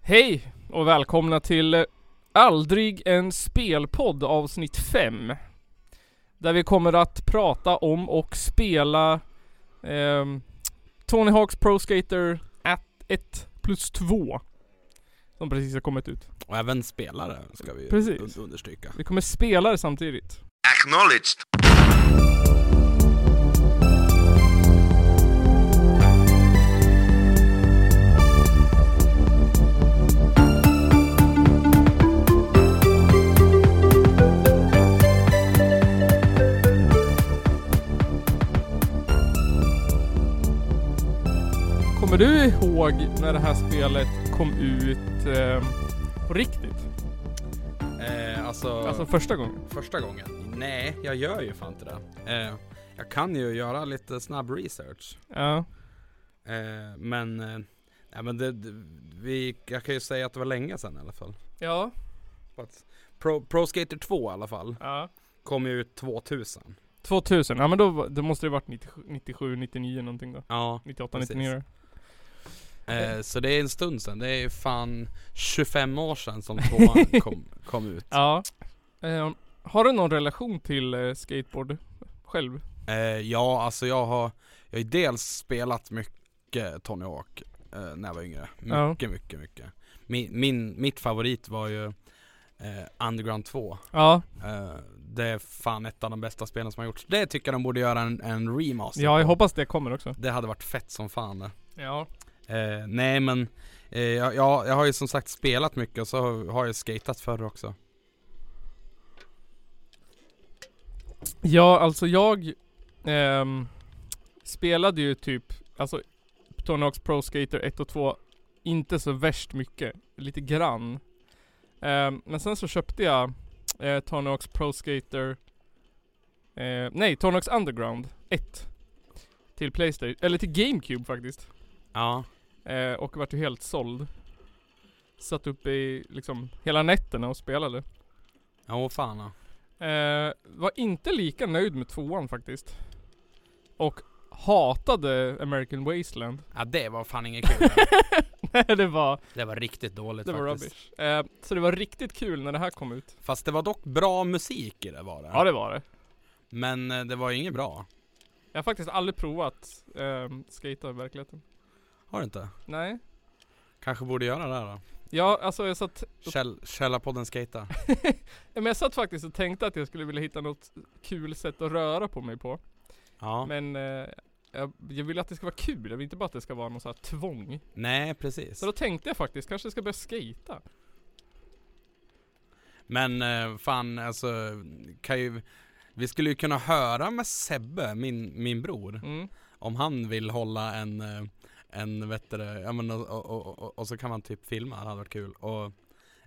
Hej och välkomna till eh, Aldrig en spelpodd avsnitt 5. Där vi kommer att prata om och spela ehm, Tony Hawks Pro Skater 1 plus 2. Som precis har kommit ut. Och även spelare ska vi Precis. un- understryka. Vi kommer spela det samtidigt. Acknowledged. Kommer du ihåg när det här spelet kom ut ehm, på riktigt? Eh, alltså, Alltså första gången? första gången? Nej, jag gör ju fan inte det. Eh, jag kan ju göra lite snabb research. Ja. Eh, men, eh, nej, men det, det, vi, jag kan ju säga att det var länge sedan i alla fall. Ja. Pro, Pro Skater 2 i alla fall ja. kom ju ut 2000. 2000, ja men då, var- då måste det varit 97, 97 99 någonting då. Ja, 98, Precis. 99 eh, så det är en stund sedan. Det är fan 25 år sedan som tvåan kom, kom ut. Ja. Eh, har du någon relation till eh, skateboard själv? Eh, ja, alltså jag har, jag har ju dels spelat mycket Tony Hawk eh, när jag var yngre. Ja. Mycket, mycket, mycket. Min, min, mitt favorit var ju eh, Underground 2. Ja, Eh, det är fan ett av de bästa spelen som har gjorts. Det tycker jag de borde göra en, en remaster ja jag på. hoppas det kommer också. Det hade varit fett som fan det. Ja. Eh, nej men, eh, jag, jag, jag har ju som sagt spelat mycket och så har, har jag skatat förr också. Ja, alltså jag ehm, spelade ju typ, alltså Tony Hawk's Pro Skater 1 och 2 inte så värst mycket, lite grann. Ehm, men sen så köpte jag eh, Tony Hawk's Pro Skater, eh, nej Tony Hawk's Underground 1 till Playstation, eller till GameCube faktiskt. Ja, Eh, och vart ju helt såld. Satt uppe i liksom hela nätterna och spelade. ja åh fan ja. Eh, var inte lika nöjd med tvåan faktiskt. Och hatade American Wasteland. ja. det var fan inget kul. Nej det var, det var riktigt dåligt det var faktiskt. rubbish. Eh, så det var riktigt kul när det här kom ut. Fast det var dock bra musik i det var det. Ja det var det. Men eh, det var ju inget bra. Jag har faktiskt aldrig provat eh, skata i verkligheten. Har du inte? Nej. Kanske borde göra det här då. Ja, alltså jag satt, Käll, Källarpodden Skata. men jag satt faktiskt och tänkte att jag skulle vilja hitta något kul sätt att röra på mig på. Ja. Men eh, jag, jag vill att det ska vara kul, jag vill inte bara att det ska vara någon sån här tvång. Nej precis. Så då tänkte jag faktiskt, kanske ska börja skata. Men eh, fan alltså, kan ju, vi skulle ju kunna höra med Sebbe, min, min bror, Mm. om han vill hålla en, eh, en vet du det, ja men och, och, och, och, och så kan man typ filma, det hade varit kul. Och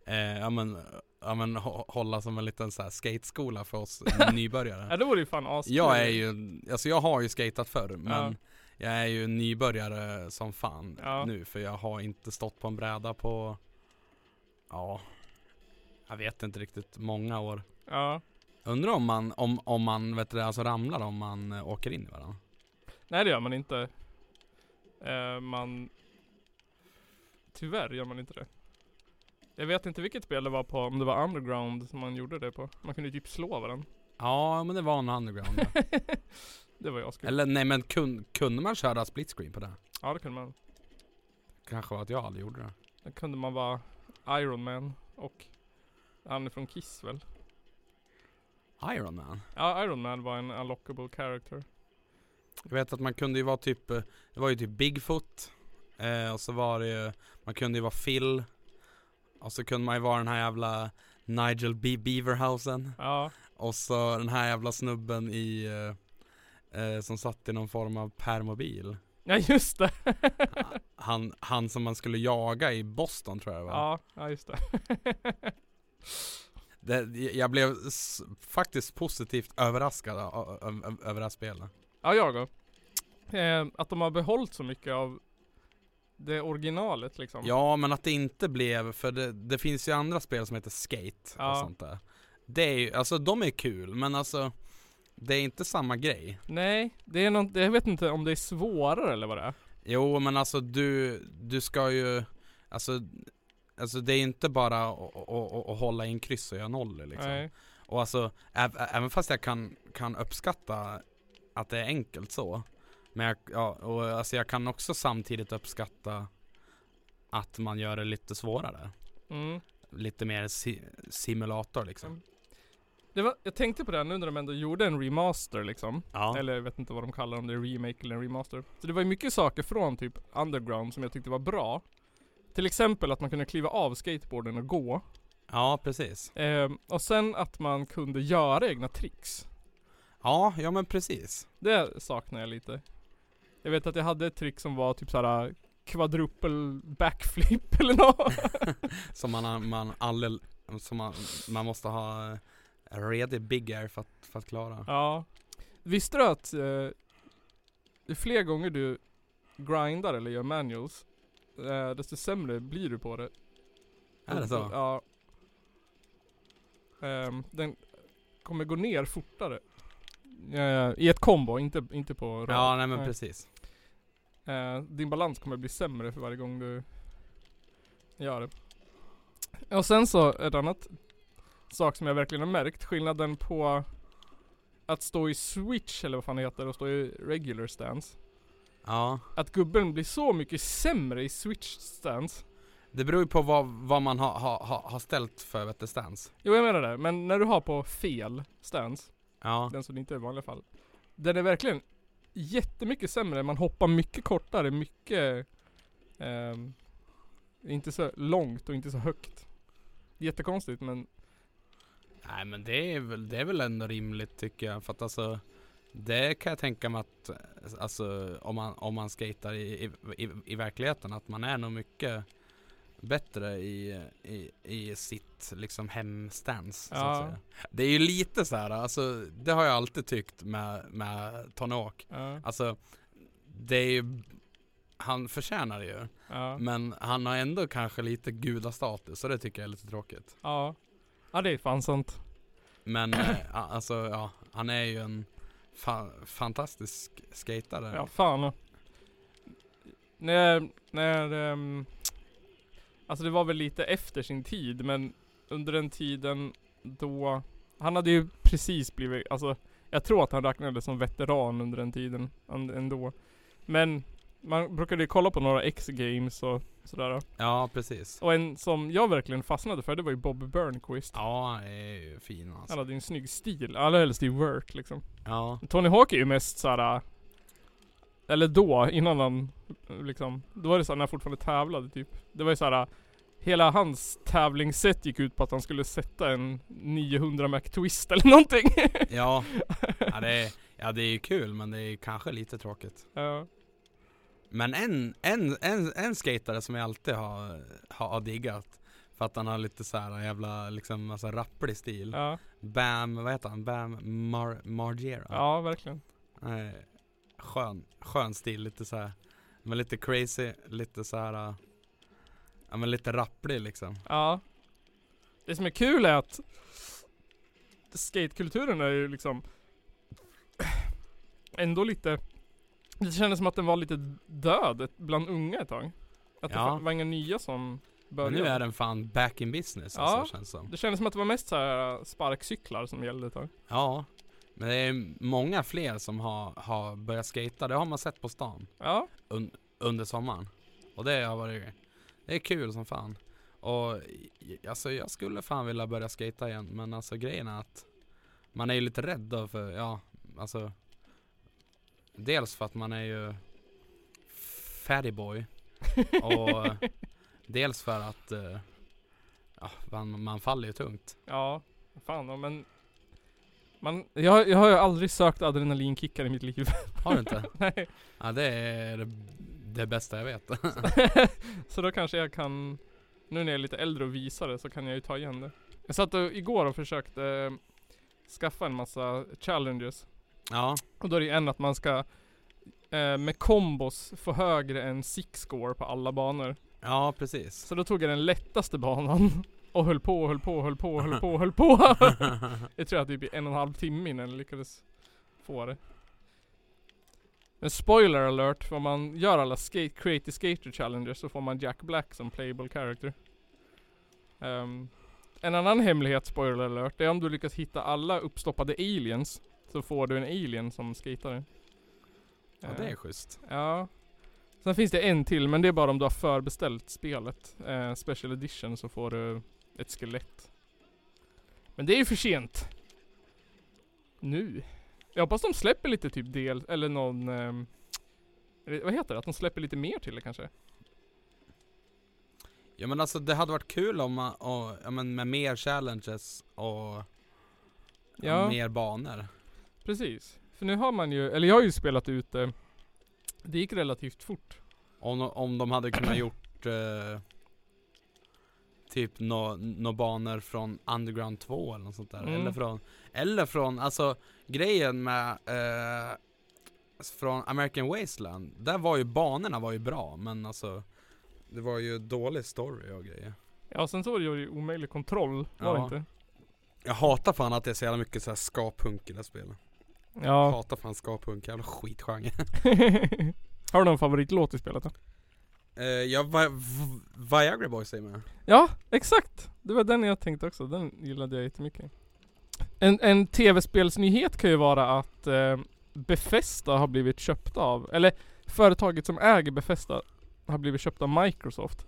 eh, ja men, ja, men hå- hålla som en liten så här skateskola för oss nybörjare. Ja det vore ju fan askul. Jag är ju, alltså jag har ju skatat förr Ja. men jag är ju nybörjare som fan Ja. nu för jag har inte stått på en bräda på, ja, jag vet inte riktigt, många år. Ja. Undrar om man, om, om man vet du, det, alltså ramlar om man eh, åker in i varandra. Nej det gör man inte. Eh, man... Tyvärr gör man inte det. Jag vet inte vilket spel det var på, om det var underground som man gjorde det på. Man kunde ju typ slå varandra. Ja men det var nog underground ja. Det var ju askul. Eller nej men kun, kunde man köra split screen på det? Ja det kunde man. Kanske var att jag aldrig gjorde det. Då kunde man vara Iron Man och han är från Kiss väl? Iron Man. Ja Iron Man var en unlockable character. Jag vet att man kunde ju vara typ, eh, det var ju typ Bigfoot eh, och så var det ju, man kunde ju vara Phil och så kunde man ju vara den här jävla Nigel B. Beaverhausen Ja. och så den här jävla snubben i eh, eh, som satt i någon form av permobil. Ja just det! Han, han som man skulle jaga i Boston tror jag va? Ja, ja just det. det, Jag blev s- faktiskt positivt överraskad ö- ö- ö- över det här spelet. Ja, jag då. Eh, att de har behållit så mycket av det originalet liksom. Ja, men att det inte blev, för det, det finns ju andra spel som heter Skate och Ja. sånt där. Det är ju, alltså de är kul, men alltså det är inte samma grej. Nej, det är något, jag vet inte om det är svårare eller vad det är. Jo, men alltså du, du ska ju, alltså alltså det är inte bara att- att- att att hålla in kryss och göra nollor liksom. Nej. Och alltså, äv- även fast jag kan, kan uppskatta att det är enkelt så. Men jag, ja, och alltså jag kan också samtidigt uppskatta att man gör det lite svårare. Mm. Lite mer si- simulator Mm. liksom. Det var, jag tänkte på det här nu när de ändå gjorde en remaster liksom. Ja. Eller jag vet inte vad de kallar det, om det är remake eller en remaster. Så det var ju mycket saker från typ Underground som jag tyckte var bra. Till exempel att man kunde kliva av skateboarden och gå. ja, precis. Ehm, och sen att man kunde göra egna tricks. Ja, ja men precis. Det saknar jag lite. Jag vet att jag hade ett trick som var typ såhär kvadrupel backflip eller något. Som man, har- man allel, som man, man måste ha eh, redig big air för att, för att klara. Ja. Visste du att eh, ju fler gånger du grindar eller gör manuals, eh, desto sämre blir du på det. Är det så? Ja. Ehm, den kommer gå ner fortare. Eh, I ett combo, inte, inte på rad. Ja, nej men precis. Eh, din balans kommer bli sämre för varje gång du gör det. Och sen så, ett annat sak som jag verkligen har märkt, skillnaden på att stå i switch eller vad fan det heter och stå i regular stance. Ja. Att gubben blir så mycket sämre i switch stance. Det beror ju på vad, vad man har ha, ha, har ställt för vet du, stance. Jo jag menar det, men när du har på fel stance, Ja. den som det inte är i vanliga fall. Den är verkligen jättemycket sämre, man hoppar mycket kortare, mycket ehm, inte så långt och inte så högt. Jättekonstigt men Nej men det är, väl, det är väl ändå rimligt tycker jag. För att alltså det kan jag tänka mig att eh, alltså, om, man, om man skater i, i, i, i verkligheten att man är nog mycket bättre i, i, i sitt liksom hemstans. Så Ja. att säga. Det är ju lite så här, alltså, det har jag alltid tyckt med, med Tony Hawk. ja, Alltså det är ju, han förtjänar det ju. ja, Men han har ändå kanske lite gudastatus så det tycker jag är lite tråkigt. ja. Ja det är fan sant. Men eh, a- alltså ja, han är ju en fa- fantastisk skatare. Ja fan. När, när ehm, Alltså det var väl lite efter sin tid men under den tiden då Han hade ju precis blivit, alltså Jag tror att han räknades som veteran under den tiden änd- ändå Men Man brukade ju kolla på några X-games och sådär Ja, precis. Och en som jag verkligen fastnade för det var ju Bob Burnquist Ja, han är ju fin Han alltså. hade ju en snygg stil, allra helst i work liksom Ja, Tony Hawk är ju mest såhär Eller då, innan han liksom Då var det såhär när han fortfarande tävlade typ Det var ju såhär Hela hans tävlingssätt gick ut på att han skulle sätta en 900 Mac Twist eller någonting ja. ja, det är, ja det är ju kul men det är ju kanske lite tråkigt. Ja, Men en, en, en, en skatare som jag alltid har, har diggat för att han har lite så här jävla liksom alltså, rapplig stil. ja, Bam, vad heter han? Bam Mar- Margera. ja verkligen Eh, skön, skön stil, lite så här. Men lite crazy, lite så här. eh, Ja men lite rapplig liksom. Ja Det som är kul är att Skatekulturen är ju liksom Ändå lite Det kändes som att den var lite död ett- bland unga ett tag Att Ja. det var inga nya som Men började nu är den fan back in business Ja. alltså känns som. Det kändes som att det var mest så här sparkcyklar som gällde ett tag. Ja. Men det är många fler som har, har börjat skata. Det har man sett på stan Ja. un, under sommaren. Och det har varit, det är kul som fan. Och i- alltså jag skulle fan vilja börja skata igen men alltså grejen är att man är ju lite rädd då för, ja alltså Dels för att man är ju fattyboy och dels för att eh, ja, man, man faller ju tungt. Ja. Fan men. Man, jag, jag har ju aldrig sökt adrenalinkickar i mitt liv. Har du inte? Nej. Ja det är det, det bästa jag vet. så då kanske jag kan. Nu när jag är lite äldre och visare så kan jag ju ta igen det. Jag satt och, igår och försökte eh, skaffa en massa challenges. ja, Och då är det ju en att man ska eh, med kombos få högre än six score på alla banor. ja precis. Så då tog jag den lättaste banan och höll på och höll på och höll på och höll på och höll på. jag tror att det typ en och en halv timme innan jag lyckades få det. Men spoiler alert, om man gör alla skate, Creative Skater Challenger så får man Jack Black som playable character. Ehm, en annan hemlighet, spoiler alert, är om du lyckas hitta alla uppstoppade aliens så får du en alien som Ehm, skatare. Ja, det är schysst. Ja. Sen finns det en till, men det är bara om du har förbeställt spelet. Eh, special edition så får du ett skelett. Men det är ju för sent. Nu. Jag hoppas de släpper lite typ del, eller någon... ehm, eller vad heter det? Att de släpper lite mer till det kanske? Ja men alltså det hade varit kul om man, och, ja, men med mer challenges och Ja. mer banor. Precis. För nu har man ju, eller jag har ju spelat ut det. Det gick relativt fort. Om, de- om de hade kunnat gjort eh, typ några nå banor från Underground 2 eller något sånt där. Mm. Eller från, eller från, alltså grejen med eh, från American Wasteland, där var ju banorna var ju bra men alltså det var ju dålig story och grejer. Ja, sen så var det ju omöjlig kontroll, var det Ja. inte? Jag hatar fan att det är så jävla mycket så här ska-punk i det här spelet. Ja. Hatar fan ska-punk, jävla skitgenre. har du någon favoritlåt i spelet då? Eh, jag, Vi- Vi- Viagra Boys säger man. Ja, exakt! Det var den jag tänkte också, den gillade jag jättemycket. En, en tv-spelsnyhet kan ju vara att eh, Bethesda har blivit köpta av, eller företaget som äger Bethesda har blivit köpta av Microsoft.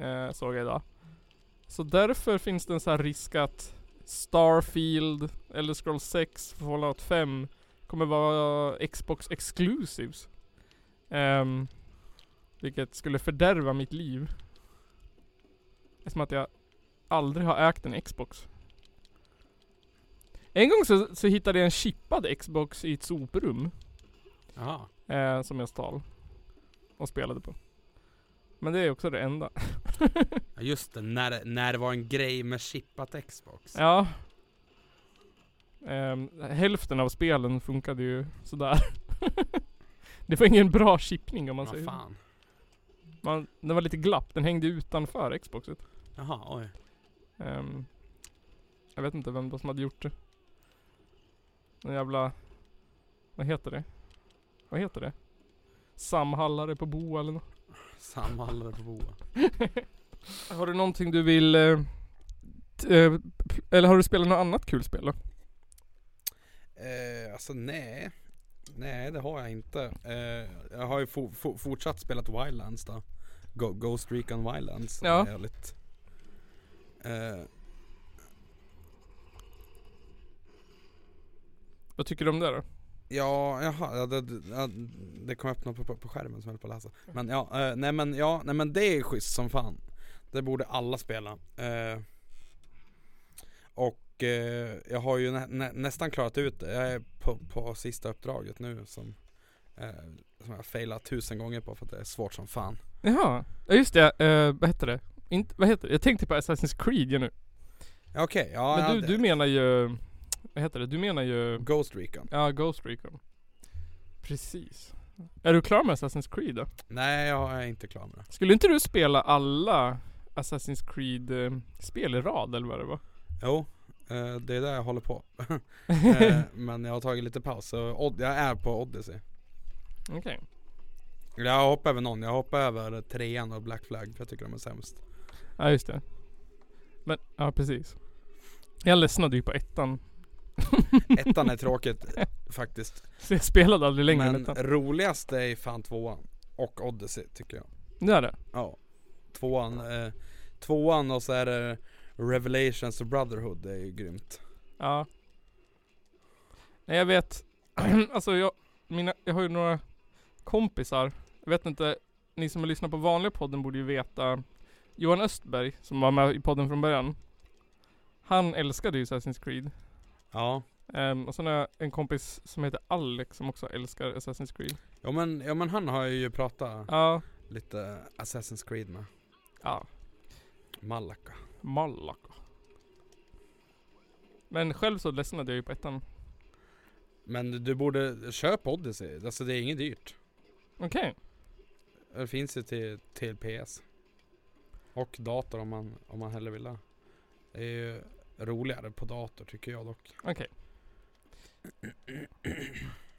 Eh, såg jag idag. Så därför finns det en sån här risk att Starfield, Elder Scrolls 6, Fallout 5 kommer vara Xbox exclusives. Ehm, vilket skulle fördärva mitt liv. Eftersom att jag aldrig har ägt en Xbox. En gång så, så hittade jag en chippad Xbox i ett soprum. Jaha. Eh, som jag stal. Och spelade på. Men det är också det enda. Ja just det, när, det- när det var en grej med chippat Xbox. Ja. Ehm, hälften av spelen funkade ju sådär. det var ingen bra chippning om man Vad säger så. fan. Man, den var lite glapp, den hängde utanför Xboxet. Jaha, oj. Ehm, jag vet inte vem det var som hade gjort det. Den jävla... Vad heter det? Vad heter det? Samhallare på Boa eller något. Samma halvor på boa. Har du någonting du vill... eh, t- eh, p- eller har du spelat något annat kul spel då? Eh, alltså nej. Nej det har jag inte. Eh, jag har ju fo- fo- fortsatt spelat Wildlands då. Go- Ghost Recon Wildlands. som Ja. är Jävligt. Eh, Vad tycker du om det då? ja, jaha, ja, det, ja, det kom upp något på, på, på skärmen som jag höll på att läsa. Mm. Men ja, eh, nej men ja, nej men det är schysst som fan. Det borde alla spela. Eh, och eh, jag har ju nä, nä, nästan klarat ut det. Jag är på, på sista uppdraget nu som, eh, som jag har failat tusen gånger på för att det är svårt som fan. Jaha, ja just det. Eh, vad heter det? Inte, vad heter det? Jag tänkte på Assassin's Creed ju nu. Ja, Okej, ja, Men ja du, det- du menar ju... Vad heter det? Du menar ju... Ghost Recon. Ja, Ghost Recon. Precis. Är du klar med Assassin's Creed då? Nej, jag är inte klar med det. Skulle inte du spela alla Assassin's Creed eh, spel i rad eller vad det var? Jo, eh, det är där jag håller på. eh, men jag har tagit lite paus, så Od- jag är på Odyssey. Okej. Jag hoppar över någon, jag hoppar över trean och Black Flag för jag tycker de är sämst. Ja just det. Men, ja precis. Jag ledsnade ju på ettan. Ettan är tråkigt faktiskt. Så jag spelade aldrig längre än Men eh, ettan. roligast är fan tvåan och Odyssey tycker jag. Det är det. Ja, tvåan. Eh, tvåan och så är det Revelations och Brotherhood, det är ju grymt. Ja. Nej jag vet. alltså jag, mina, jag har ju några kompisar. Jag vet inte, ni som lyssnar på vanliga podden borde ju veta. Johan Östberg som var med i podden från början. Han älskade ju Assassin's Creed. Ja, Ehm, och sen har jag en kompis som heter Alex som också älskar Assassin's Creed. ja men, ja, men han har jag ju pratat Ja. lite Assassin's Creed med. Ja. Malaka. Malaka. Men själv så ledsnade jag ju på ettan. Men du borde köpa Odyssey, alltså det är inget dyrt. Okej. Det finns ju till, till PS. Och dator om man, om man hellre vill det. Det är ju roligare på dator tycker jag dock.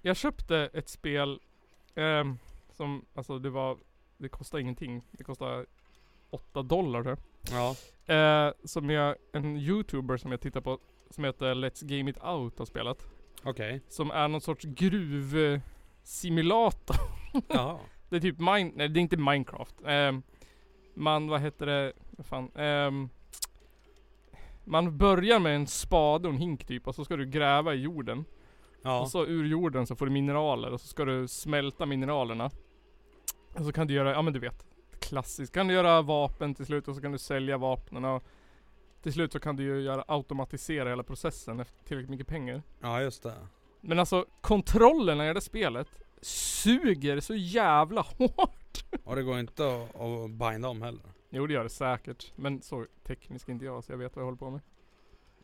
Jag köpte ett spel ehm, som, alltså det var, det kostade ingenting. Det kostade 8 dollar tror jag. Ja. Eh, som jag, en youtuber som jag tittar på, som heter Let's Game It Out har spelat. Okej. Som är någon sorts gruvsimulator. Jaha. Det är typ Mine, nej det är inte Minecraft. Ehm, man, vad heter det, vad fan. Ehm, man börjar med en spade och en hink typ och så ska du gräva i jorden. Ja. Och så ur jorden så får du mineraler och så ska du smälta mineralerna. Och så kan du göra, ja men du vet. Klassiskt. Kan du göra vapen till slut och så kan du sälja vapnen och till slut så kan du ju göra, automatisera hela processen efter tillräckligt mycket pengar. ja, just det. Men alltså kontrollerna i det spelet suger så jävla hårt. Och det går inte att, att binda om heller. Jo det gör det säkert, men så teknisk är inte jag så jag vet vad jag håller på med.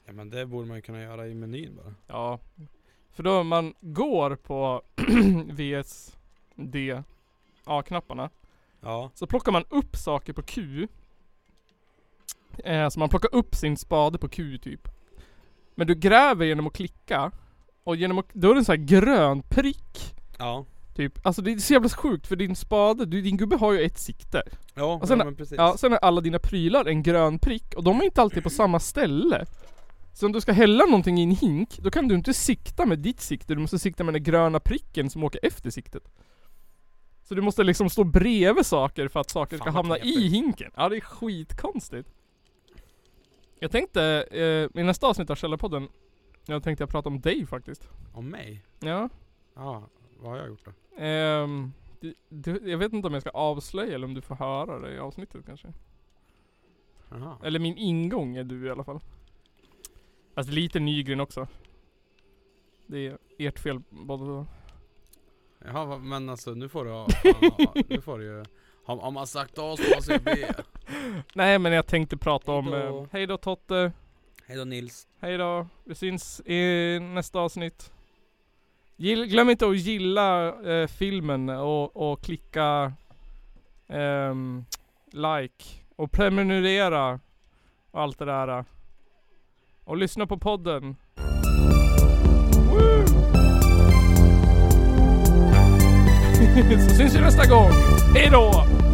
Ja, men det borde man ju kunna göra i menyn bara. Ja. För då om man går på VS, D, A-knapparna. Ja. Så plockar man upp saker på Q. Eh, så man plockar upp sin spade på Q typ. Men du gräver genom att klicka. Och genom att, då är det en sån här grön prick. Ja. Typ. Alltså det är så jävla sjukt för din spade, du, din gubbe har ju ett sikte. Ja, Och sen- ja men precis. Ja, sen är alla dina prylar en grön prick och de är inte alltid på samma ställe. Så om du ska hälla någonting i en hink, då kan du inte sikta med ditt sikte, du måste sikta med den gröna pricken som åker efter siktet. Så du måste liksom stå bredvid saker för att saker Fan, ska vad hamna i knepigt. hinken. Ja, det är skitkonstigt. Jag tänkte, eh, i nästa avsnitt av Källarpodden, jag tänkte jag prata om dig faktiskt. Om mig? Ja. Ja, vad har jag gjort då? Ehm, du, du, jag vet inte om jag ska avslöja eller om du får höra det i avsnittet kanske. Jaha. Eller min ingång är du i alla fall. Alltså lite Nygren också. Det är ert fel båda två. Jaha, va- men alltså nu får du ha, fan, ha- nu får du ju Har, har man sagt A så måste jag be Nej men jag tänkte prata om Hejdå. eh, Hej då Totte. Hej då Nils Hej då. Vi syns i nästa avsnitt. Gill, glöm inte att gilla eh, filmen och, och klicka ehm, like och prenumerera och allt det där. Och lyssna på podden. Woo! Så syns vi nästa gång. Hej då!